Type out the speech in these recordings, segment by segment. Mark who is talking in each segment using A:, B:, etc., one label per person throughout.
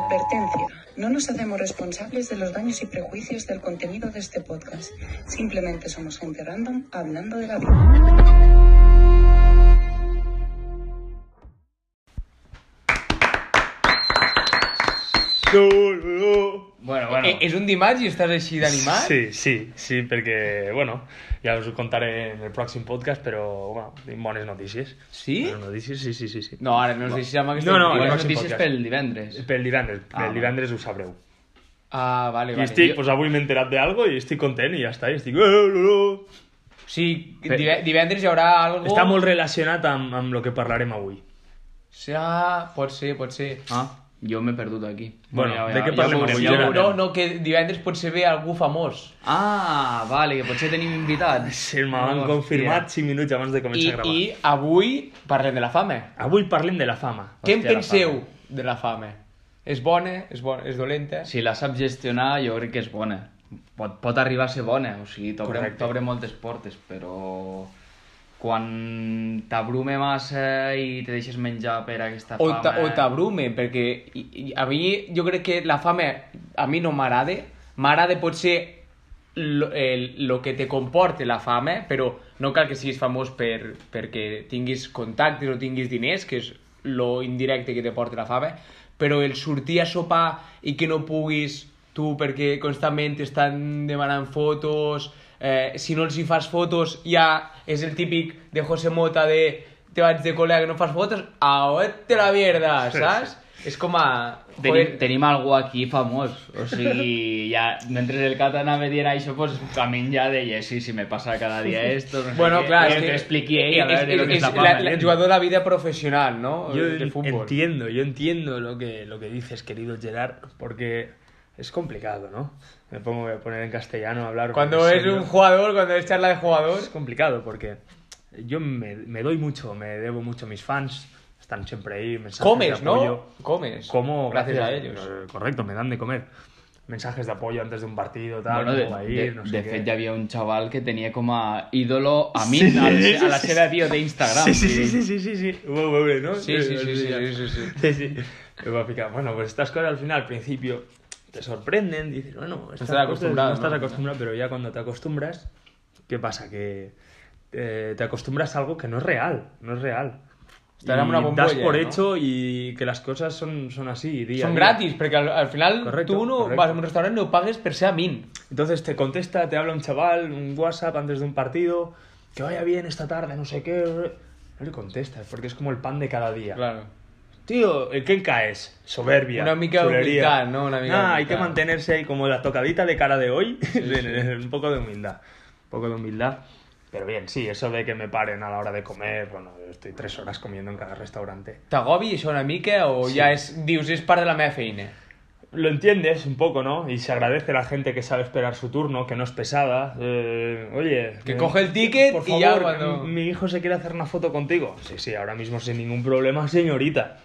A: Advertencia. No nos hacemos responsables de los daños y prejuicios del contenido de este podcast. Simplemente somos gente random hablando de la vida.
B: Bueno, bueno.
C: Eh, És un dimarts i estàs així d'animat?
B: Sí, sí, sí, perquè, bueno, ja us ho contaré en el pròxim podcast, però, bueno, tinc bones notícies.
C: Sí?
B: Bones notícies, sí, sí, sí. sí.
C: No, ara no us deixis amb aquesta...
B: No, no,
C: bones
B: el pròxim
C: notícies
B: podcast.
C: pel divendres.
B: Pel divendres,
C: Ah,
B: pel
C: va.
B: divendres ho sabreu.
C: Ah, vale,
B: I
C: vale.
B: estic,
C: Jo-
B: pues, avui m'he enterat d'algo i estic content i ja està, i estic... "Eh, lo, lo".
C: O sigui, dive- divendres hi haurà algo...
B: Està molt relacionat amb, amb el que parlarem avui.
C: O sigui, ah, pot ser, pot ser. Ah, jo m'he perdut aquí.
B: Bueno,
D: Bueno, ja-
B: de
D: ja-
B: què
D: ja
B: parlem?
D: ho-
B: avui?
D: ja ho
B: Gerard?
C: No, no, que divendres potser ve algú famós.
D: Ah, vale, que potser tenim invitats.
B: Sí, m'han
D: Hòstia.
B: confirmat 5 minuts abans de
C: I,
B: començar a gravar.
C: I avui parlem de la fama.
B: Avui parlem de la fama.
C: Què en
B: Hòstia, la
C: penseu
B: fama.
C: de la fama? És bona? És, bona, és dolenta?
D: Si la sap gestionar, jo crec que és bona. Pot, pot arribar a ser bona, o sigui, t'obre
B: Correcte.
D: t'obre moltes portes, però quan t'abrume massa i te deixes menjar per aquesta
C: O,
D: fama...
C: ta, o t'abrume, perquè i, i, a mi, jo crec que la fama a mi no m'agrada. M'agrada potser lo, el, lo que te comporte la fama, però no cal que siguis famós per, perquè tinguis contactes o tinguis diners, que és lo indirecte que te porta la fama, però el sortir a sopar i que no puguis tu perquè constantment estan demanant fotos, eh, si no els hi fas fotos ja és el típic de José Mota de te vaig de col·lega que no fas fotos, a te la mierda, saps? És com a...
D: Tenim,
C: joder,
D: tenim algú aquí famós, o sigui, ja, mentre el Cata anava dient això, pues, a mi ja deia, sí, sí, me passa cada dia esto, no sé
C: Bueno,
D: què,
C: clar, eh,
D: i que t'expliqui ell, a veure lo que eh. és la fama.
C: la, la, el jugador de la vida profesional, ¿no?
B: Yo
C: del fútbol.
B: entiendo, yo entiendo lo que, lo que dices, querido Gerard, porque es complicado, ¿no? Me pongo voy a poner en castellano a hablar.
C: Cuando
B: en
C: es
B: serio.
C: un jugador, cuando es charla de jugador,
B: Es complicado porque yo me, me doy mucho, me debo mucho a mis fans, están siempre ahí, mensajes
C: comes,
B: de
C: ¿no?
B: apoyo.
C: Comes.
B: Como
C: Gracias, a ellos.
B: eh, Correcto, me dan de comer. Mensajes de apoyo antes de un partido, tal,
D: Bueno,
B: no
D: de,
B: va a
D: de,
B: ir, no sé
D: de
B: qué.
D: fet, hi havia un xaval que tenia com a ídolo a mi, sí, a, la, a la seva bio d'Instagram.
B: Sí, sí, sí, sí, sí, sí, sí. Hubo huevo, ¿no?
C: Sí, sí, sí, sí, sí, sí, sí.
B: Sí, sí. Me va a picar. Bueno, pues estas cosas al final, al principio, te sorprenden, dices, bueno, estas
C: estás
B: cosas
C: acostumbrado,
B: no estás
C: ¿no?
B: acostumbrado, pero ya cuando te acostumbras, ¿qué pasa? Que eh, te acostumbras a algo que no es real, no es real.
C: Estar en
B: Y
C: una
B: das
C: bombolla,
B: por
C: ¿no?
B: hecho y que las cosas son, son así. Día a
C: Son
B: día.
C: gratis, porque al, al final
B: Correcto,
C: tú no
B: correcto.
C: vas a un restaurante y no pagues per se a min.
B: Entonces te contesta, te habla un chaval, un WhatsApp antes de un partido, que vaya bien esta tarde, no sé qué. No le contestas, porque es como el pan de cada día.
C: Claro.
B: Tío, ¿en qué caes? Soberbia.
C: Una mica de
B: chulería.
C: humildad, ¿no? Una mica
B: Nah,
C: de
B: hay que
C: humildad.
B: mantenerse ahí como la tocadita de cara de hoy. un poco de humildad. Un poco de humildad. Pero bien, sí, eso de que me paren a la hora de comer. Bueno, yo estoy tres horas comiendo en cada restaurante.
C: T'agobi això una mica o
B: Sí.
C: ja és, dius, és part de la meva feina?
B: Lo entiendes un poco, ¿no? Y se agradece a la gente que sabe esperar su turno, que no es pesada. Eh, oye.
C: Que
B: eh,
C: coge el ticket
B: por
C: y ya
B: favor,
C: cuando-
B: mi hijo se quiere hacer una foto contigo. Sí, sí, ahora mismo sin ningún problema, señorita.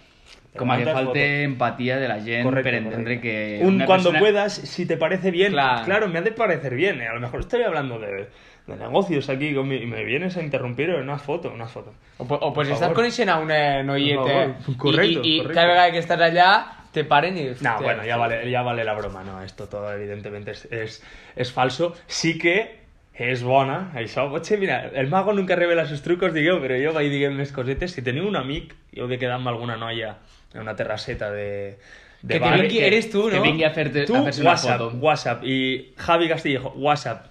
D: Com a que
B: Levantas foto.
D: falte empatia de la gent per entendre que...
B: Un
D: una
B: cuando
D: persona-
B: puedas, si te parece bien.
C: Claro.
B: Claro, me ha de parecer bien. eh. A lo mejor estoy hablando de, de negocios aquí con mi- y me vienes a interrumpir en una foto, una foto.
C: O, po- o pues
B: Por
C: estàs
B: favor.
C: coneixent a una noieta
B: Por favor. Correcto,
C: i, i, i
B: correcto.
C: cada vegada que estàs allà te paren i...
B: No,
C: hòstia,
B: bueno, ya vale, ya vale la broma, no, esto todo evidentemente es, es, es falso. Sí que es bona, això. Potser, mira, el mago nunca revela sus trucos, digueu, però jo vaig dient unes cosetes. Si teniu un amic, jo he de quedar amb alguna noia en una terrasseta de... de
C: Que te
B: bar,
C: vingui, eres tu, no?
D: Que vingui a fer-te
B: Tú,
D: a fer-se una
B: WhatsApp,
D: foto.
B: WhatsApp. Y Javi Castillejo, WhatsApp.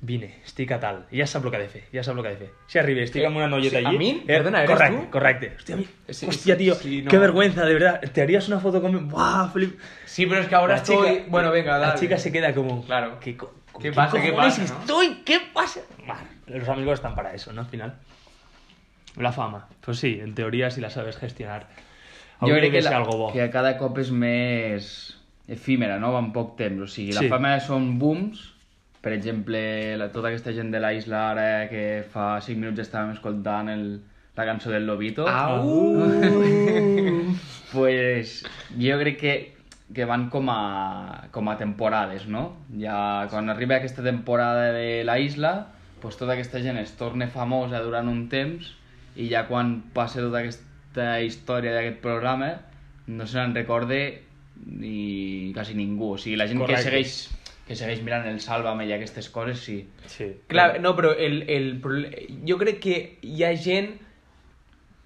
B: Vine, estic a tal. Ja sap el que ha de fer, ja sap el que ha de fer. Si arriba, estic
C: Eh,
B: amb una noieta
C: sí,
B: allí...
C: a mi? Perdona, ¿eres
B: correcte,
C: tu?
B: Correcte, Hòstia, a mi...
C: Sí,
B: Hòstia,
C: sí,
B: tio,
C: sí, no.
B: que vergüenza, de verdad. ¿Te harías una foto conmigo? ¡Buah, Felipe!
C: Sí, però és que ahora
B: La chica-
C: estoy... Bueno, venga, dale.
B: La chica se queda como...
C: Claro.
B: ¿Qué, co- con
C: ¿Qué
B: qué
C: pasa, qué
B: cojones
C: pasa, no?
B: estoy? ¿Qué pasa? Bueno, los amigos están para eso, ¿no? Al final. La fama. Pues sí, en teoría, si la sabes gestionar.
D: Jo
B: hauria
D: crec
B: de
D: que,
B: ser
D: la,
B: algo bo.
D: que cada cop és més efímera, no? Va en poc temps. O sigui, la
B: Sí.
D: fama són booms, per exemple, la, tota aquesta gent de la isla ara que fa 5 minuts estàvem escoltant el, la cançó del Lobito.
B: Ah, Au!
D: pues jo crec que, que van com a, com a temporades, no? Ja quan arriba aquesta temporada de la isla, pues tota aquesta gent es torna famosa durant un temps i ja quan passa tota aquesta història d'aquest programa no se n'en recorde i quasi ningú. O sigui, la gent
B: Correcte.
D: que segueix, que segueix mirant el Sálvame i aquestes coses, sí.
B: Sí.
C: Clar, no, però el, el, proble- jo crec que hi ha gent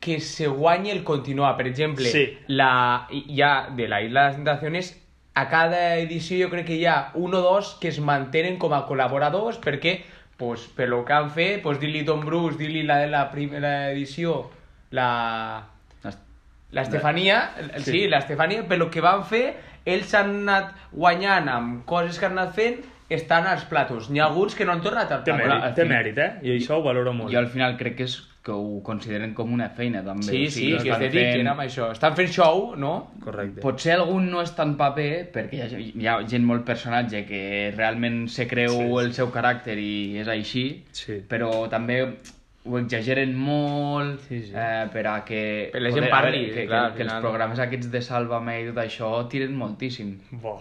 C: que se guanyi el continuar. Per exemple,
B: Sí.
C: la, hi ha de la Isla de las Tentaciones a cada edició jo crec que hi ha un o dos que es mantenen com a col·laboradors perquè pues, per lo que han fet, pues, dir-li Tom Bruce, dir-li la de la primera edició, la, la Estefania, el- sí.
B: Sí.
C: la Estefania, però que van fer, ells s'han anat guanyant amb coses que han anat fent, estan als platos. N'hi ha alguns que no han tornat al
B: Té
C: plato.
B: mèrit,
D: al
B: té
D: fi-
B: mèrit, eh? I això ho valoro molt.
D: Jo al final crec que és que ho consideren com una feina, també.
C: Sí, sí,
D: o sigui,
C: que es
D: estan
C: dediquen
D: fent-
C: fent... amb això. Estan fent show, no?
B: Correcte.
D: Potser algun no és tan paper, perquè hi ha, hi ha gent molt personatge que realment se creu
B: Sí, sí.
D: el seu caràcter i és així,
B: Sí.
D: però també ho exageren molt
B: Sí, sí.
D: Eh, per a que...
C: Per la gent
D: a
C: parli,
D: veure, que,
C: clar, al
D: que, que els
C: final.
D: programes aquests de Sálvame i tot això tiren moltíssim.
B: Bo.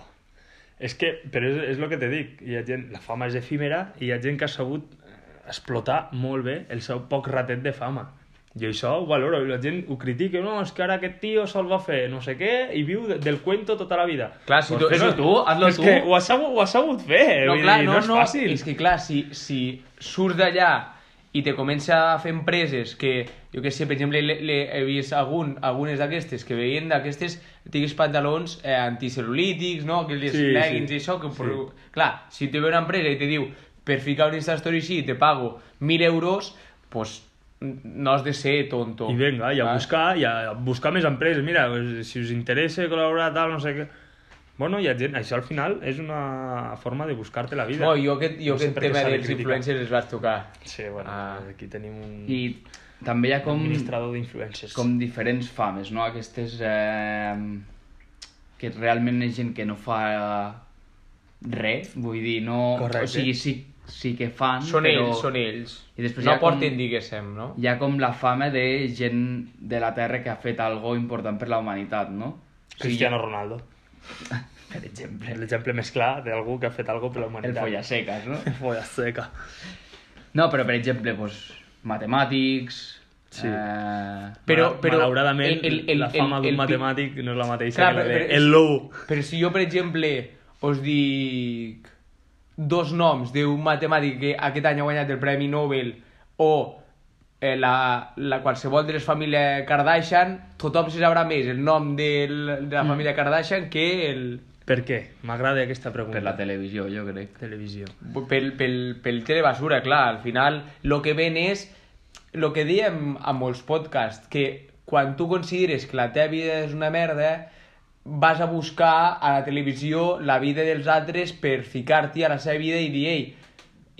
B: És que, però és, és el que te dic, hi ha gent, la fama és efímera i hi ha gent que ha sabut eh, explotar molt bé el seu poc ratet de fama. Jo això ho valoro, i la gent ho critica, no, és que ara aquest tio se'l va fer no sé què i viu de- del cuento tota la vida.
C: Clar, si tu-
B: fes-ho
C: no,
D: hazlo
B: és
D: tu.
B: Que ho, has sabut, ho has sabut fer,
C: No,
B: vull
C: clar,
B: dir,
C: no,
B: és
C: no,
B: fàcil.
C: és que clar, si, si surts d'allà i te comença a fer empreses que, jo que sé, per exemple, le, le, he vist algun, algunes d'aquestes que veien d'aquestes, tinguis pantalons eh, anticel·lulítics, no? Que les
B: Sí,
C: sí, leggings
B: sí.
C: sí. i això, que
B: Sí.
C: sí. clar, si te ve una empresa i te diu per ficar un Instastory així te pago 1.000 euros, pues no has de ser tonto.
B: I vinga, i a
C: Clar.
B: buscar, i a buscar més empreses. Mira, pues, si us interessa col·laborar, tal, no sé què... Bueno, hi ha gent... Això al final és una forma de buscar-te la vida.
C: No, jo aquest, jo
B: No sé
C: aquest
B: per què
C: tema
B: s'ha de
C: dels
B: criticar.
C: influencers els vas tocar.
B: Sí, bueno,
C: Ah.
B: aquí tenim un I
D: I també hi ha com,
B: administrador d'influencers.
D: com diferents fames, no? Aquestes eh, que realment és gent que no fa res, vull dir, no...
B: Correcte.
D: O sigui, sí, sí que fan,
C: Són
D: però...
C: ells, són ells.
D: I després
C: no
D: hi ha com-
C: porten, diguéssim, no?
D: Hi ha com la fama de gent de la Terra que ha fet algo important per la humanitat, no?
B: Cristiano Ronaldo.
D: Per exemple,
B: L'exemple més clar d'algú que ha fet alguna per la
D: el
B: humanitat.
D: Follasecas, no?
B: Folla seca.
D: No, però per exemple, doncs, matemàtics...
B: Sí.
D: Eh,
C: Però-
B: Mal-
C: però
B: Malauradament,
C: el- el- el-
B: la fama
C: el-
B: d'un
C: el pi-
B: matemàtic no és la mateixa
C: Clar,
B: que la
C: però-
B: de...
C: però-
B: el lobo.
C: Però si jo, per exemple, us dic dos noms d'un matemàtic que aquest any ha guanyat el Premi Nobel o eh, la, la qualsevol de les famílies Kardashian, tothom se sabrà més el nom del,
D: Mm.
C: de la família Kardashian que el,
B: Per què? M'agrada aquesta pregunta.
D: per la televisió, jo crec.
B: televisió.
C: pel, pel, pel telebasura, clar, al final lo que ven és lo que diem a molts podcasts, que quan tu consideres que la teva vida és una merda, vas a buscar a la televisió la vida dels altres per ficar-t'hi a la seva vida i dir, ei,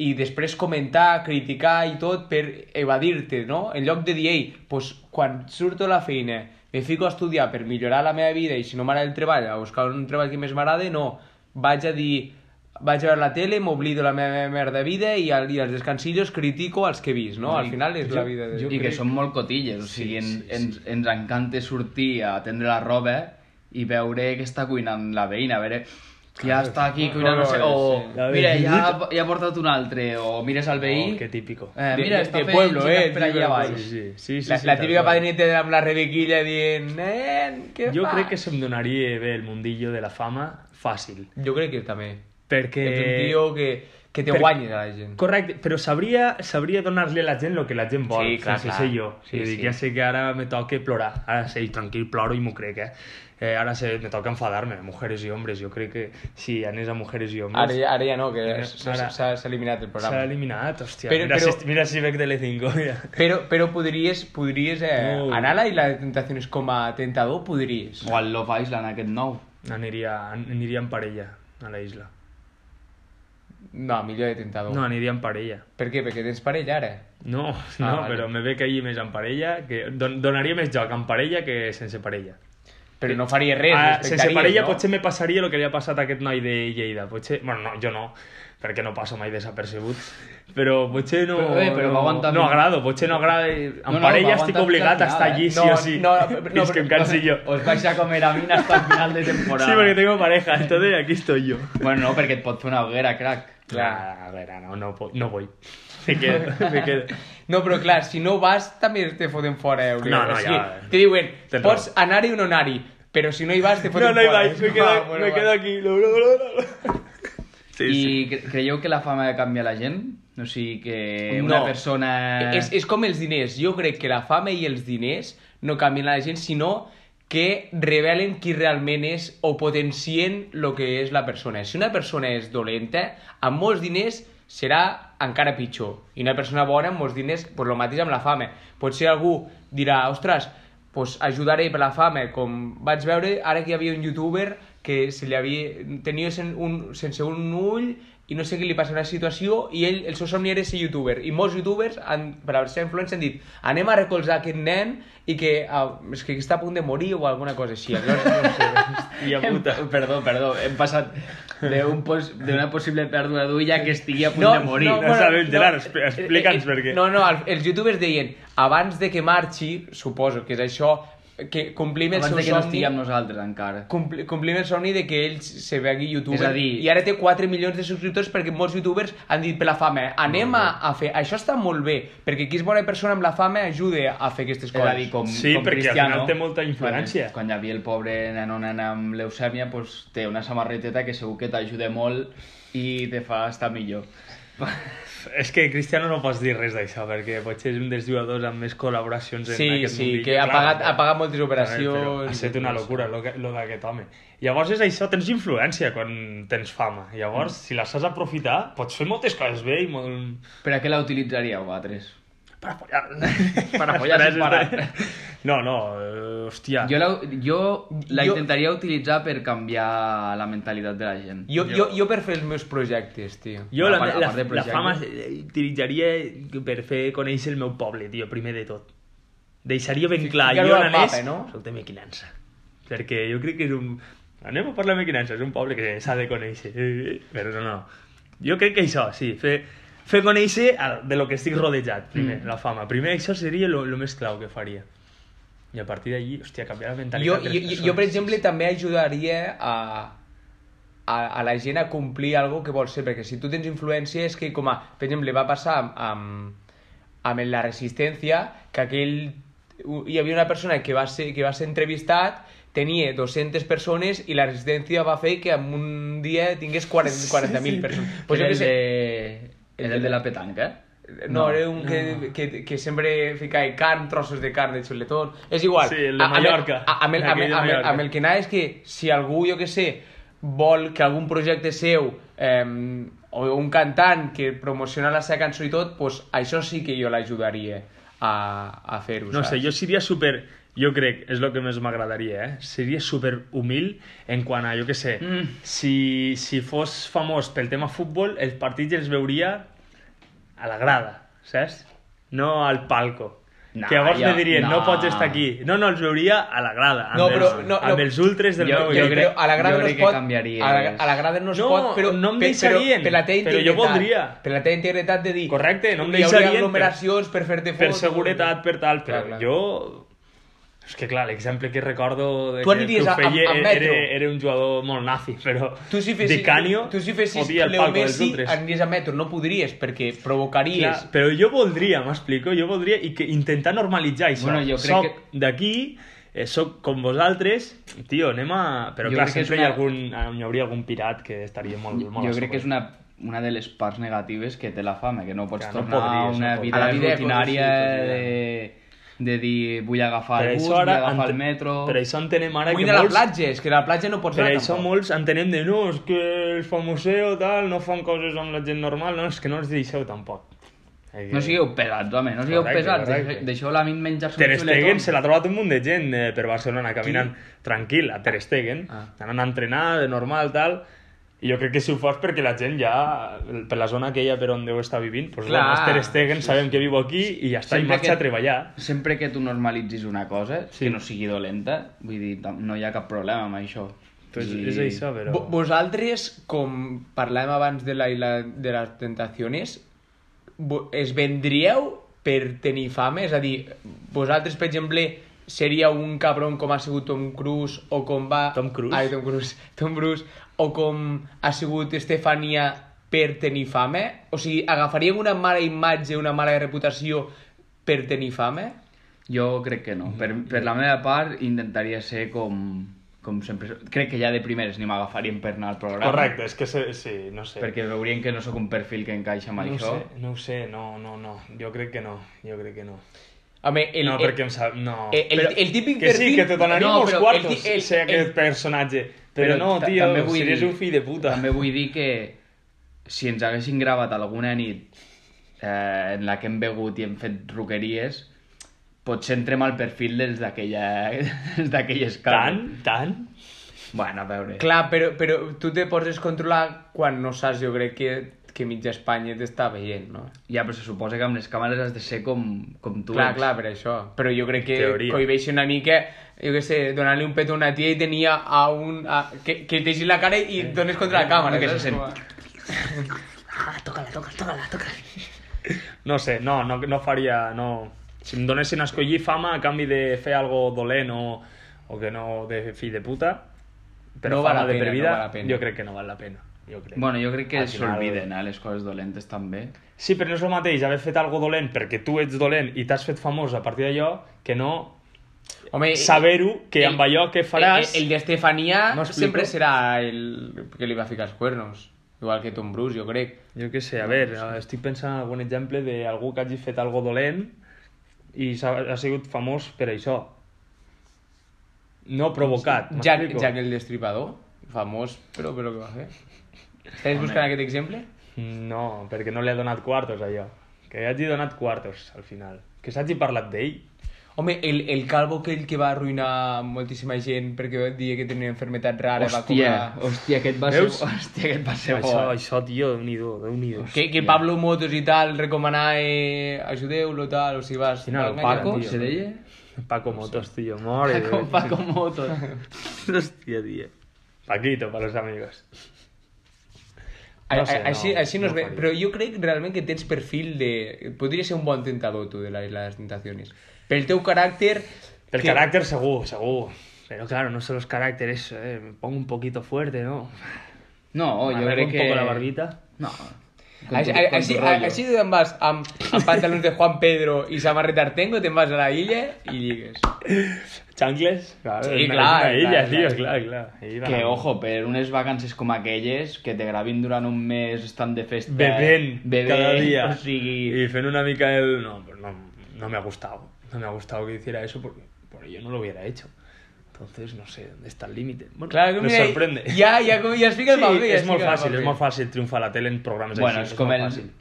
C: i després comentar, criticar i tot per evadir-te, no? En lloc de dir, ei, pues, quan surto a la feina me fico a estudiar per millorar la meva vida i si no m'agrada el treball, a buscar un treball que més m'agrada, no. Vaig a dir, vaig a veure la tele, m'oblido la meva merda de vida i, al, i als descansillos critico els que he vist, no? Al final és la vida de...
D: I que són molt cotilles, o sigui, en, ens, ens encanta sortir a tendre la roba i veure què està cuinant la veïna, a veure... Ja està aquí cuinant, no sé, o
B: La
D: mira, ja,
B: veïnita.
D: ja ha portat un altre, o mires al veí...
B: Oh, que típico.
D: Eh,
C: De-
D: mira,
C: de-
D: està
C: de
D: fent
C: pueblo,
D: gires
C: eh,
D: per allà
C: típico,
D: baix.
B: Sí, sí, sí. sí,
C: la,
B: sí
C: la
B: tal
C: típica
B: qual.
C: padrineta amb la rebequilla dient, nen, què
B: Jo
C: fas?"
B: crec que se'm donaria bé el mundillo de la fama fàcil.
C: Jo crec que també.
B: Perquè...
C: Ets un tio que, que te
B: per-
C: guanyi a la gent.
B: Correcte, però sabria, sabria donar-li a la gent el que la gent vol,
C: Sí, clar,
B: sense
C: clar.
B: ser jo.
C: Sí,
B: Sí, dic,
C: sí.
B: Ja sé que ara me toca plorar, ara sí, tranquil, ploro i m'ho crec, eh? eh ara sé, me toca enfadar-me, mujeres i hombres, jo crec que si anés a mujeres i hombres...
C: Ara, ja- ara ja no, que
B: Ara-
C: s'ha- s'ha s'ha eliminat el
B: S'ha
C: programa.
B: eliminat, hòstia.
C: Però-
B: mira,
C: però-
B: Si, mira si veig Telecinco, mira.
C: Però, però podries, podries eh,
B: No.
C: anar a la Isla de Tentaciones com a tentador, podries.
D: O al Love Island, aquest nou.
B: Aniria, aniria en parella a la isla.
C: No, millor de tentador.
B: No, aniria en parella.
C: Per què? Perquè tens parella ara.
B: No, no,
C: vale.
B: però me ve que allí més en parella, que don, donaria més joc en parella que sense parella.
C: Però no faries res,
B: Ah,
C: respectaries,
B: sense parella
C: no?
B: potser me passaria el que li ha passat a aquest noi de Lleida. Potser... Bueno, no, jo no, perquè no passo mai desapercebut. Però potser no...
D: Però bé, però va
B: no,
D: aguantar
B: no
D: fins-
B: agrado, potser no agrada. En
D: No, no,
B: parella
D: va
B: estic
D: aguantar
B: obligat
D: fins
B: a
D: al
B: estar
D: final,
B: allí,
D: eh?
B: sí
C: No,
B: o sí.
C: no, no,
B: fins
C: però-
B: que em cansi jo.
D: Os vais a comer a mina hasta el final de temporada.
B: Sí, porque tengo pareja, entonces aquí estoy yo.
D: Bueno, no, perquè et pot fer una hoguera, crac.
B: Claro, a ver, no, no, po- no voy. Me quedo, me quedo.
C: No, però clar, si no vas també te foten fora. Eh?
B: No, no,
C: o sigui,
B: ja. eh,
C: Te diuen,
B: Tens
C: pots
B: raó.
C: anar-hi o no anar-hi. Pero si no hi vas, te
B: No,
C: foten
B: no hi
C: fora.
B: vaig,
C: És
B: me
C: com,
B: quedo,
C: ah, bueno,
B: me
C: va.
B: quedo aquí. Lo, lo, lo, lo. Sí,
D: I
B: sí.
D: cre- creieu que la fama canvia la gent? O sigui que una
C: No.
D: persona...
C: Eh, És, és com els diners. Jo crec que la fama i els diners no canvien la gent, sinó que revelen qui realment és o potencien el que és la persona. Si una persona és dolenta, amb molts diners serà encara pitjor. I una persona bona amb molts diners, pues, el mateix amb la fama. Potser algú dirà, ostres, pues, ajudaré per la fama, com vaig veure ara que hi havia un youtuber que se li havia... tenia sen, un, sense un ull i no sé què li passa una situació i ell, el seu somni era ser youtuber i molts youtubers han, per haver ser influents han dit anem a recolzar aquest nen i que, ah, és que està a punt de morir o alguna cosa així Llavors, no sé.
B: Hòstia puta.
D: Hem, Em- perdó, perdó, hem passat d'un pos... d'una possible pèrdua d'ulla que estigui a punt de morir.
B: no. sabem, Gerard, expli- explica'ns per què.
C: eh, no, no, el, els youtubers deien abans de que marxi, suposo que és això que complim el
D: Abans
C: seu
D: de que no
C: somni
D: estigui amb nosaltres encara.
C: compli, complim el somni de que ell se vegui youtuber.
D: És a dir-
C: I ara té 4 milions de subscriptors perquè molts youtubers han dit per la fama, eh? anem a, a fer... Això està molt bé, perquè qui és bona persona amb la fama ajuda a fer aquestes
D: És
C: coses.
D: a dir, com,
B: Sí,
D: com
B: perquè al
D: Cristiano,
B: final té molta influència.
D: Quan, quan hi havia el pobre nen o nena amb leucèmia, doncs, té una samarreteta que segur que t'ajuda molt i te fa estar millor.
B: És que Cristiano no pots dir res d'això, perquè potser és un dels jugadors amb més col·laboracions en
C: Sí,
B: aquest
C: sí,
B: mundillo.
C: que ha
B: Clar,
C: pagat,
B: però-
C: ha pagat moltes
B: Però
C: operacions...
B: Ha estat una locura, lo, que- lo d'aquest home. Llavors és això, tens influència quan tens fama. Llavors,
C: Mm.
B: si la saps aprofitar, pots fer moltes coses bé i molt...
D: Per a què la utilitzaríeu, vosaltres?
B: Per follar.
D: Per a follar sin parar.
B: No, no, eh, hòstia.
D: Jo la, jo la
C: Jo-
D: intentaria utilitzar per canviar la mentalitat de la gent.
C: Jo, jo, jo per fer els meus projectes, tio.
B: Jo la,
D: A part- a
B: la,
D: part
B: la,
D: de
B: la
D: projecte.
B: fama utilitzaria per fer conèixer el meu poble, tio, primer de tot. Deixaria ben clar,
C: ficar-ho
B: jo
C: al
B: n'anés...
C: mapa, no?
B: Soc de Mequinança. Perquè jo crec que és un... Anem a parlar de Mequinança, és un poble que s'ha de conèixer. Eh, eh, Però no, no. Jo crec que això, sí, fer, fer conèixer el, de lo que estic rodejat, primer, mm. la fama. Primer això seria lo, lo més clau que faria. I a partir d'allí, hòstia, canviar la
C: Jo,
B: mentalitat. de
C: jo,
B: les
C: jo, jo,
B: persones.
C: per exemple, també ajudaria a, a, a la gent a complir algo que vols ser, perquè si tu tens influència és que, com a, per exemple, va passar amb, amb, amb la resistència, que aquell... u- Hi havia una persona que va ser, que va ser entrevistat, tenia 200 persones i la resistència va fer que en un dia tingués 40 40.000 persones.
D: Pues
C: Pues jo
D: era,
C: que
D: el
C: sé,
D: de, era el de la petanca, eh?
C: no, era un que, que, que sempre ficava carn, trossos de carn, de xuletón... És igual.
B: Sí, el de
C: A- amb
B: Mallorca.
C: A, amb, el, amb,
B: Aquell
C: el,
B: de
C: amb, el,
B: Mallorca.
C: amb el que anava és que si algú, jo que sé, vol que algun projecte seu eh, o un cantant que promociona la seva cançó i tot, pues, això sí que jo l'ajudaria a, a fer-ho,
B: No sé,
C: saps?
B: jo seria super... Jo crec, és el que més m'agradaria, eh? Seria super humil en quant a, jo què sé, mm. si, si fos famós pel tema futbol, els partits els veuria a la grada, saps? No al palco.
D: No,
B: No, que llavors
D: jo-
B: me dirien, no.
D: no.
B: pots estar aquí. No, no, els veuria a la grada, amb,
C: No,
B: els,
C: però- no,
B: amb
C: no.
B: els ultres del
D: Jo-
B: meu
D: jo
B: equip.
D: crec-
C: però a la grada
D: jo
C: no
D: crec
C: es
D: que
C: pot...
D: canviaries.
C: A la, a la grada no es
B: No,
C: pot, però...
B: no em
C: per-
B: deixarien,
C: Per, per la teva
B: però jo
C: integritat.
B: voldria.
C: Per la teva integritat de dir...
B: Correcte, no em
C: Hi
B: deixarien,
C: hauria
B: però-
C: aglomeracions per fer-te
B: Per
C: fotos...
B: seguretat, per tal, però
C: Clar, clar.
B: jo... És que clar, l'exemple que recordo de
C: Tu
B: que
C: aniries a-
B: Trofell
C: a- a
B: era-
C: metro.
B: era, era un jugador molt nazi, però
C: Tu si fessis,
B: de Canio
C: tu si fessis
B: fotia el
C: Leo
B: palco dels
C: Messi,
B: ultres.
C: aniries a metro, no podries, perquè provocaries...
B: Clar, però jo voldria, m'explico, jo voldria i que intentar normalitzar això.
D: Bueno, jo crec
B: soc
D: que-
B: d'aquí, eh, soc com vosaltres, tio, anem a... Però
D: Jo
B: clar,
D: crec que és
B: sempre hi, ha algun,
D: una-
B: hi hauria algun pirat que estaria molt, molt
D: jo
B: a
D: crec que és
B: sobre.
D: una, una de les parts negatives que té la fama, que no pots
B: Que no
D: tornar a
B: podries, no
D: una
B: podries.
D: vida,
C: A la vida de
D: rutinària
B: coses, sí,
D: de, de dir vull agafar
B: Per
D: el bus,
B: això
D: vull
B: ara
D: agafar el
B: ent-
D: metro...
B: Per això entenem ara
C: Vull
B: que
C: anar a la
B: molts...
C: platja, és que a la platja no pots
B: Per
C: anar
B: això
C: tampoc.
B: molts entenem de no, és que els famosos tal, no fan coses amb la gent normal, no, és que no els deixeu tampoc. Eh,
D: No sigueu pesats, home, no sigueu
B: Correcte,
D: pesats.
B: correcte.
D: deixeu- Deixeu la mint menjar-se
B: Ter Stegen se l'ha trobat un munt de gent eh, per Barcelona caminant tranquil, a Ter Stegen,
C: Ah.
B: anant a entrenar, de normal, tal, i jo crec que si ho fas perquè la gent ja, per la zona aquella per on deu estar vivint, doncs,
C: Clar.
B: bueno, és Ter Stegen, sabem que viu aquí i ja està, i
D: Sempre
B: marxa
D: que-
B: a treballar.
D: Sempre que tu normalitzis una cosa,
B: Sí.
D: que no sigui dolenta, vull dir, tam- no hi ha cap problema amb això.
B: Entonces,
D: I-
B: és això, però...
C: Vo- Vosaltres, com parlàvem abans de la isla de les tentaciones, vo- es vendríeu per tenir fama? És a dir, vosaltres, per exemple, seria un cabron com ha sigut Tom Cruise o com va...
B: Tom Cruise?
C: Ai, Tom Cruise. Tom Cruise. O com ha sigut Estefania per tenir fama? O sigui, agafaríem una mala imatge, una mala reputació per tenir fama?
D: Jo crec que no. Per, per la meva part, intentaria ser com... com sempre... Crec que ja de primeres ni m'agafarien per anar al programa.
B: Correcte, és que se- sí, no sé.
D: Perquè veurien que no sóc un perfil que encaixa amb
B: no ho
D: això.
B: sé, no ho sé, no, no, no. Jo crec que no, jo crec que no.
C: Home, el,
B: no, perquè em sap... No.
C: el- el- el típic
B: que sí,
C: perfil-
B: que te donaria
C: No,
B: no, molts
C: però
B: quartos,
C: el ti- el-
B: ser aquest
C: el-
B: personatge. Però,
D: Però
B: no,
D: ta-
B: tio,
D: també vull
B: series
D: dir-
B: un fill de puta.
D: També vull dir que si ens haguessin gravat alguna nit eh, en la que hem begut i hem fet roqueries, potser entrem al perfil dels d'aquella dels d'aquella escala.
B: Tant, tant.
D: Bueno, a veure.
C: Clar, però, però tu te pots controlar quan no saps, jo crec que, que mitja Espanya t'està veient, no?
D: Ja, però se suposa que amb les càmeres has de ser com, com tu
C: clar,
D: ets.
C: clar, per això. Però jo crec que
B: Teoria.
C: cohibeix una mica, jo què sé, donar-li un pet a una tia i tenia a un... A, que, que et deixi la cara i et dones contra la càmera.
D: que se
C: saps?
D: sent.
C: Com
B: No sé, no, no, no faria... No. Si em donessin a escollir fama a canvi de fer algo dolent o, o que no de fill de puta, però
C: No val
B: fama
C: la
B: de
C: pena,
B: per
C: no
B: vida,
C: val la pena.
B: jo crec que no val la pena. Jo crec.
D: Bueno, jo crec que
B: Al final-
D: s'olviden, eh, les coses dolentes també.
B: Sí, però no és el mateix haver fet algo dolent perquè tu ets dolent i t'has fet famós a partir d'allò que no
C: a- Home, i-
B: saber-ho que amb allò que faràs...
C: eh, El, el d'Estefania
B: No
C: no
B: explico.
C: sempre serà el que li va ficar els cuernos. Igual que Tom Bruce, jo crec.
B: Jo què sé, a veure, estic pensant en algun exemple d'algú que hagi fet algo dolent i s'ha ha sigut famós per això. No provocat,
C: Jack,
B: m'explico?
C: Jack el Destripador, famós, però per lo que va fer. Estàs buscant aquest exemple?
B: No, perquè no li ha donat quartos, allò. Que hagi donat quartos, al final. Que s'hagi parlat d'ell.
C: Home, el, el calvo aquell que va arruïnar moltíssima gent perquè dia que tenia una enfermedad rara
D: hòstia,
C: va cobrar...
D: hòstia, aquest va
B: Veus?
D: ser... Hòstia, aquest va ser bo. eh.
B: Això, això, tio, déu-n'hi-do, déu-n'hi-do.
C: Que, que Pablo Motos i tal recomanar eh, ajudeu-lo tal, o si vas...
B: Quina, el
C: Venga,
B: Paco?
D: Com
C: tio.
D: se deia?
B: Paco Motos, tio, more. de
D: Paco,
B: Dios.
D: Paco Motos.
B: Hòstia, tio. Paquito, para los amigos.
C: A-
B: No sé,
C: a- així,
B: no,
C: així no,
B: no
C: es ve,
B: faria.
C: però jo crec realment que tens perfil de... Podria ser un bon tentador, tu, de la Isla de les Tentaciones. Pel teu caràcter...
B: El
C: que-
B: carácter seguro, seguro. Pero claro, no son los caracteres, eh, me pongo un poquito fuerte, ¿no?
D: No,
B: Me
D: jo
B: arreglo
D: crec
B: un
D: que...
B: poco la barbita.
D: No.
C: Així, així, així te'n vas amb, amb pantalons de Juan Pedro i samarreta Artengo, te'n vas a la illa i lligues.
B: ¿Chancles? Claro,
C: Sí,
B: es una-
C: claro,
B: es una isla,
C: claro,
B: tío,
C: claro.
B: claro, claro. Ahí va.
D: Que, ojo, per unes vacances com aquelles, que te gravin durant un mes, estan de festa...
B: Bebent,
C: eh,
D: bebent
B: cada día.
D: O sigui...
B: Y fue una mica el... No, pues no, no me ha gustado. No me ha gustado que hiciera eso porque, porque yo no lo hubiera hecho. Entonces, no sé dónde está el límite. Bueno,
C: Claro, que
B: me
C: mira,
B: sorprende.
C: Ja, ja, com- ja es fica el
B: Sí,
C: paper. ja
B: és
C: es
B: molt
C: fica el
B: fàcil, és
C: paper.
B: molt fàcil triomfar a la tele en programes
D: Bueno,
B: pues, així.
D: és com
B: molt
D: el...
B: fàcil.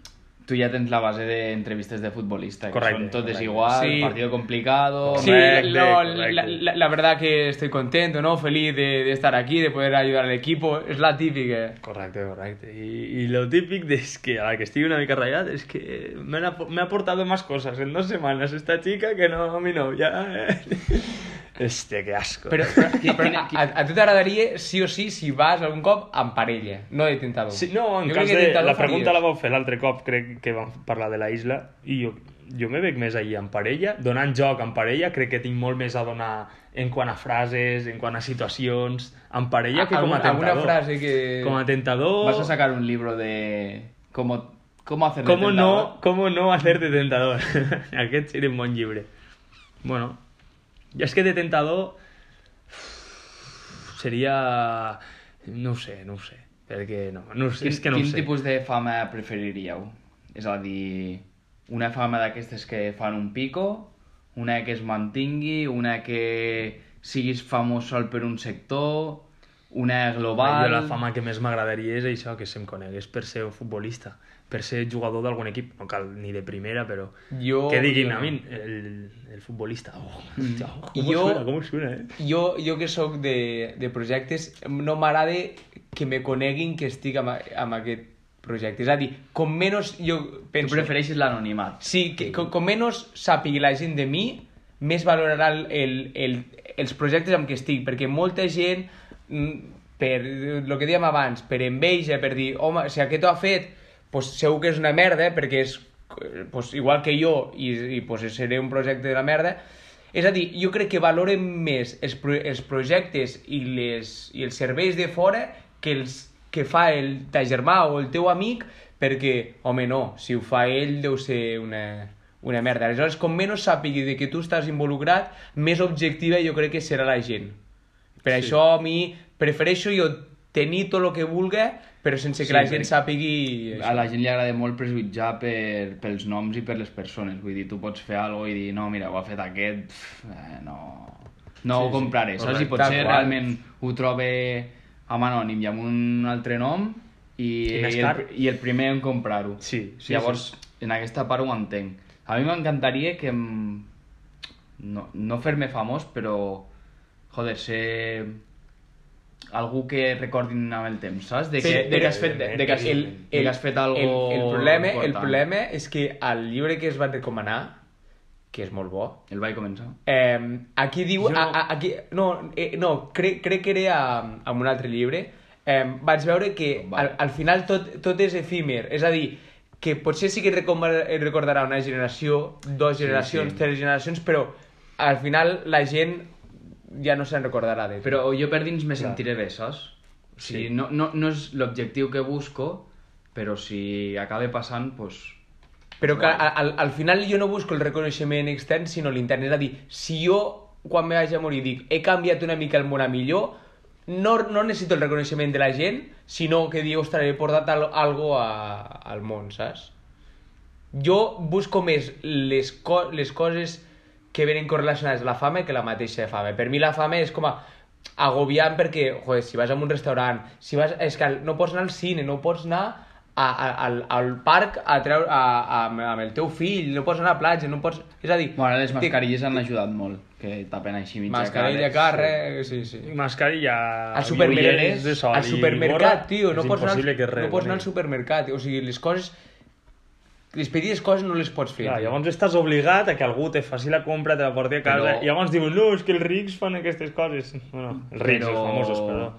D: Tu ja tens la base d'entrevistes de futbolista, que
B: Correcte,
D: són totes
B: correcte.
D: igual,
C: Sí.
D: partido complicado...
C: Sí,
B: Correcte,
C: no,
B: correcte.
C: la, la, la verdad que estoy contento, ¿no? Feliz de, de estar aquí, de poder ayudar al equipo. Es la típica.
B: Correcte, correcte. I, i lo típic és que a la que estigui una mica ratllat és que me han ap- me ha aportado más cosas en dos semanas esta chica que no mi novia. eh. Hòstia, que asco.
C: Però, però, però a, a, a tu t'agradaria sí o sí si vas algun cop amb parella, no de tentador.
B: Sí, no, en
C: Jo
B: cas
C: crec que
B: de...
C: tentador
B: La pregunta la
C: faries.
B: vau fer l'altre cop, crec que vam parlar de la isla, i jo, jo me veig més allí en parella, donant joc en parella, crec que tinc molt més a donar en quant a frases, en quant a situacions, en parella que com a
C: Alguna- alguna
B: tentador.
C: frase que-
B: Com a tentador...
D: Vas a sacar un libro de... Cómo, cómo hacer de
B: ¿Cómo
D: tentador.
B: no, ¿Cómo no hacerte tentador? Aquest seria un bon llibre. Bueno, ja és que de tentador seria... No ho sé, no ho sé. Perquè no, no ho sé, és que no ho
D: quin
B: sé.
D: tipus de fama preferiríeu? És a dir, una fama d'aquestes que fan un pico, una que es mantingui, una que siguis famós sol per un sector, una global...
B: Jo la fama que més m'agradaria és això, que se'm conegués per ser un futbolista, per ser jugador d'algun equip, no cal ni de primera, però
C: Jo-
B: que diguin
C: jo
B: a
C: no.
B: mi el, el futbolista. Oh, hòstia, oh, com
C: Jo-
B: suena, com suena, eh?
C: Jo, jo que sóc de, de projectes, no m'agrada que me coneguin que estic amb, a- amb aquest projecte. És a dir, com menys jo
D: Tu
C: penso...
D: prefereixes l'anonimat.
C: Sí, que, com, com menys sàpigui la gent de mi, més valorarà el, el, el, els projectes amb què estic, perquè molta gent, mm, per el que dèiem abans, per enveja, per dir, home, si aquest ho ha fet, pues segur que és una merda, perquè és eh, pues, igual que jo, i, i pues, seré un projecte de la merda, és a dir, jo crec que valoren més els, pro els projectes i, les, i els serveis de fora que els que fa el ta germà o el teu amic perquè, home, no, si ho fa ell deu ser una, una merda. Aleshores, com menys sàpigui de que tu estàs involucrat, més objectiva jo crec que serà la gent. Per
B: Sí.
C: això a mi prefereixo jo tenir tot el que vulgui, però sense que
D: Sí,
C: la gent
D: perquè-
C: sàpigui...
D: A la gent li agrada molt prejutjar per, pels noms i per les persones. Vull dir, tu pots fer alguna i dir, no, mira, ho ha fet aquest, pff, eh, no, no
B: Sí,
D: ho
B: sí,
D: compraré. Saps? I
C: correcte,
D: potser
C: igual.
D: realment ho trobe amb anònim i amb un altre nom i,
B: I més
D: el,
B: car.
D: i el primer en comprar-ho.
B: Sí, sí,
D: Llavors, en aquesta part ho entenc. A mi m'encantaria que... em- No, no fer-me famós, però... Joder, ser algú que recordin amb el temps, saps? De
C: Sí,
D: que, de
C: però
D: que has fet, de que has,
B: el-
D: de que has fet algo
C: el, el, problema, el
D: important.
C: problema és que el llibre que es va recomanar, que és molt bo,
D: El vaig començar.
C: eh, aquí diu...
B: Jo-
C: A, a, aquí, no, eh, no crec, crec que era amb- amb un altre llibre. Eh, vaig veure que
D: Va.
C: al, al final tot, tot és efímer. És a dir, que potser sí que recoma- eh, recordarà una generació, dues generacions,
D: sí.
C: tres generacions, però al final la gent ja no se'n recordarà de
D: Però jo per dins me sentiré bé, saps? O sigui,
B: Sí.
D: no, no, no és l'objectiu que busco, però si acaba passant, doncs...
C: Però que al, al- al final jo no busco el reconeixement extern, sinó l'intern. És a dir, si jo, quan me vaig a morir, dic he canviat una mica el món a millor, no, no necessito el reconeixement de la gent, sinó que digui, ostres, he portat al, algo a, al món, saps? Jo busco més les, co les coses que venen correlacionades a la fama que la mateixa fama. Per mi la fama és com a agobiant perquè, joder, si vas a un restaurant, si vas, és que no pots anar al cine, no pots anar a, a, al, al parc a treure, a, a, amb- amb el teu fill, no pots anar a la platja, no pots... És a dir...
D: Bueno, ara les
C: té-
D: mascarilles han ajudat molt, que tapen així mitja
C: Mascarilla,
D: cara.
C: carrer, sí, sí.
B: Mascarilla,
C: al supermercat,
B: auriculares de sol
C: al
B: i
C: supermercat,
B: gorra,
C: tio, no
B: és
C: pots, anar,
B: impossible que
C: no pots anar
B: reboni.
C: al supermercat, o sigui, les coses, les petites coses no les pots fer.
B: Clar,
C: tio.
B: llavors estàs obligat a que algú te faci la compra, te la porti a casa,
D: Però-
B: i llavors diuen, no, és que els rics fan aquestes coses. Bueno, els rics,
D: Però-
B: els famosos, però...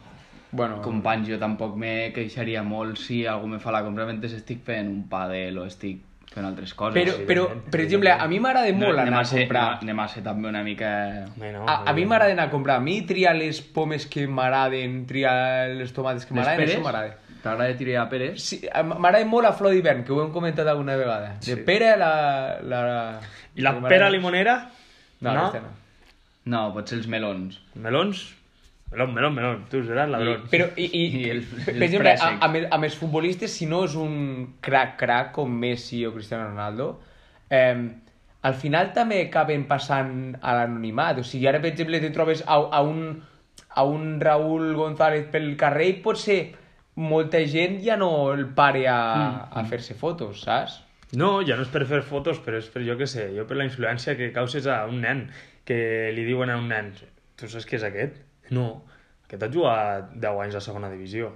C: bueno,
D: Companys, jo tampoc me queixaria molt si algú me fa la compra mentre estic fent un padel o estic fent altres coses.
C: Però, però per exemple, a mi m'agrada
D: No,
C: molt
D: anem,
C: anar
D: a
C: a
D: ser,
C: comprar.
D: anem a ser també una mica...
B: Home, no,
C: A, a mi m'agrada anar a comprar. A mi triar les pomes que m'agraden, triar les tomates que
D: Les
C: m'agraden,
D: peres?
C: això m'agrada.
D: T'agrada tirar peres?
C: Sí, a- m'agrada molt la flor d'hivern, que ho hem comentat alguna vegada. De pera, la... la...
B: I la
C: que m'agrada
B: pera
C: més.
B: limonera?
C: No, no? aquesta no.
D: No, potser els melons.
B: Melons? Melón, melón, melón. Tu seràs ladrón.
C: I, però, i, i,
D: I el-
C: per
D: els
C: exemple, a,
D: préssecs.
C: a, més- amb els futbolistes, si no és un crac-crac com Messi o Cristiano Ronaldo, eh, al final també acaben passant a l'anonimat. O sigui, ara, per exemple, te trobes a, a, un, a un Raúl González pel carrer i potser molta gent ja no el pare a, a fer-se fotos, saps?
B: No, ja no és per fer fotos, però és per, jo què sé, jo per la influència que causes a un nen, que li diuen a un nen, tu saps qui és aquest? No, aquest ha jugat 10 anys a segona divisió.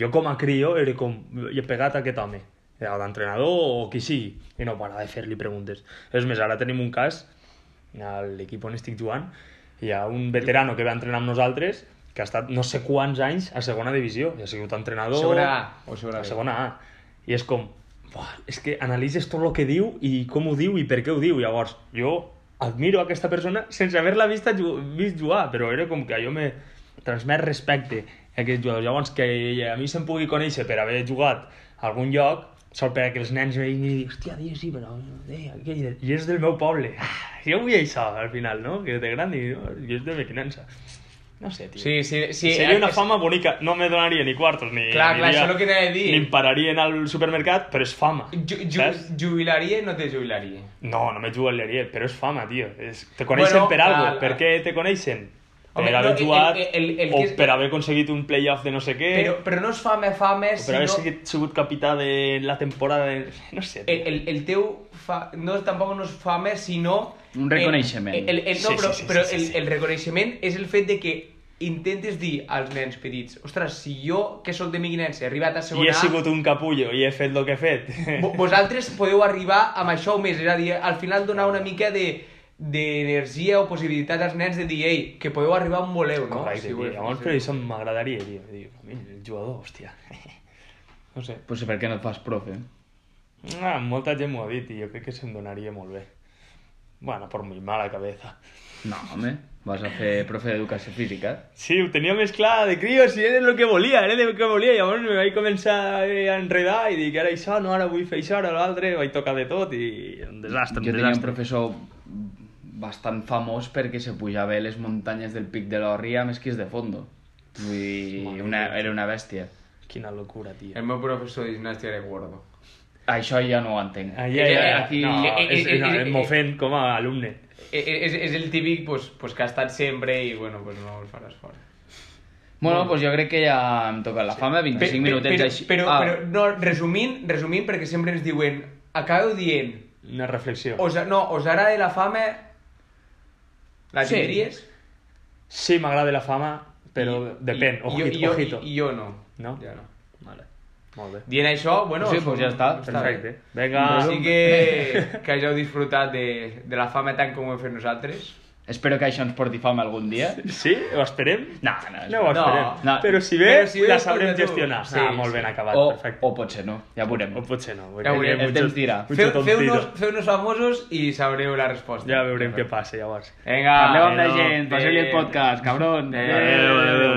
B: Jo com a crio era com, he pegat a aquest home, o d'entrenador o qui sigui, i no para de fer-li preguntes. És més, ara tenim un cas, a l'equip on estic jugant, hi ha un veterano que va entrenar amb nosaltres, que ha estat no sé quants anys a segona divisió, i ha sigut entrenador...
C: Segona A o segona
B: la
C: B.
B: segona A. I és com, "Buah, és que analitzes tot el que diu i com ho diu i per què ho diu. Llavors, jo admiro aquesta persona sense haver-la vista ju- vist jugar, però era com que jo me transmet respecte a aquests jugadors. Llavors, que a mi se'm pugui conèixer per haver jugat a algun lloc, sol per a que els nens veïn i diguin, hòstia, tio, sí, però eh, aquell, i és del meu poble. Ah, jo vull això, al final, no? Que de gran digui, no? i és de Mequinensa. No sé, tio.
C: Sí, sí, sí. eh,
B: Seria una
C: és-
B: fama bonica. No me donaria ni quartos, ni...
C: Clar, clar,
B: aniria-
C: això és el que t'he de dir.
B: Ni em pararia en el supermercat, però és fama.
C: Ju, ju,
B: saps?
C: jubilaria i no te jubilaria.
B: No, no me jubilaria, però és fama, tio. És... Te coneixen
C: Bueno,
B: per algo.
C: clar,
B: Per què te coneixen?
C: Home,
B: per
C: no,
B: haver
C: el-
B: jugat
C: el- el- el
B: o
C: que és-
B: per haver aconseguit un playoff de no sé què
C: Però, però no és fama, fama,
B: o per haver
C: sinó...
B: sigut, sigut capità de la temporada de... no sé, tio.
C: el, el, el teu fa... no, tampoc no és fama, sinó...
D: Un reconeixement.
C: El, el, el, no,
B: Sí, sí,
C: però,
B: sí, sí,
C: però
B: sí,
C: el,
B: sí.
C: el reconeixement és el fet de que intentes dir als nens petits ostres, si jo, que sóc de Miguinense, he arribat a
B: i
C: segona
B: he sigut un capullo i he fet el que he fet
C: vo- vosaltres podeu arribar amb això o més, és a dir, al final donar una mica de d'energia o possibilitat als nens de dir, ei, que podeu arribar on voleu, no?
B: correcte,
C: Si
B: tio.
C: voleu-
B: llavors però això m'agradaria tio. Diu, a mi el jugador, hòstia no sé
D: Pues per què no et fas profe?
B: Ah, molta gent m'ho ha dit i jo crec que se'm donaria molt bé. Bueno, por mi mala cabeza.
D: No, home, vas a fer profe d'educació física.
B: Sí, ho tenia més clar de crio, si era el que volia, era el que volia. Llavors me vaig començar eh, a enredar i dic, ara això, no, ara vull fer això, ara l'altre, vaig tocar de tot i un desastre,
D: jo
B: un
D: tenia un
B: desastre.
D: professor bastant famós perquè se pujava a les muntanyes del Pic de l'Orria amb esquís de fondo. Vull dir,
B: Madre
D: una,
B: mía.
D: era una bèstia.
B: Quina locura, tio.
C: El meu professor de gimnàstica era gordo.
D: Això ja no ho entenc.
B: Ah, ja, ja, ja.
D: Aquí-
B: No,
C: eh,
B: és,
C: eh,
B: és, no,
C: eh,
B: em
C: eh,
B: m'ofèn com a alumne.
C: E- e- És, és el típic pues, pues, que ha estat sempre i bueno, pues no el faràs fora.
D: Bueno, doncs jo crec que ja hem tocat la fama, 25
C: Pe- pe-
D: minutets
C: però,
D: així.
C: Però,
D: Ah,
C: però no, resumint, resumint, perquè sempre ens diuen, acabeu dient,
B: Una reflexió.
C: os, no, us agrada la fama, la
D: Sí.
C: tindries?
B: Sí, m'agrada la fama, però depèn.
C: I,
B: Ojito,
C: i, jo,
B: ojito.
C: I, i jo no.
B: No?
C: Ja no.
B: Vale. Molt bé.
C: Dient això, bueno...
D: Sí, pues ja està,
B: Perfecte.
C: bé.
B: Vinga.
C: Així que, que hàgiu disfrutat de, de la fama tant com ho hem fet nosaltres.
D: Espero que això ens porti fama algun dia.
B: Sí? Ho esperem?
D: No, no,
B: No ho
D: Ah, no.
B: esperem.
D: no.
B: Però si ve,
C: Però si ve,
B: la
C: pues
B: sabrem
C: ve tu.
B: gestionar.
C: Sí,
B: ah, molt ben
C: sí.
B: acabat,
D: O,
B: perfecte.
D: o potser no, ja veurem.
B: O potser no.
C: Ja veurem,
B: Mucho-
D: el temps dirà.
B: mucho
C: Feu-
B: tontito.
C: Feu-nos feu famosos i sabreu la resposta.
B: Ja veurem què passa, llavors.
C: Vinga,
D: Parleu amb la eh,
B: Adeu.
D: gent, passeu-li el podcast, cabrons.
C: Adeu, adeu.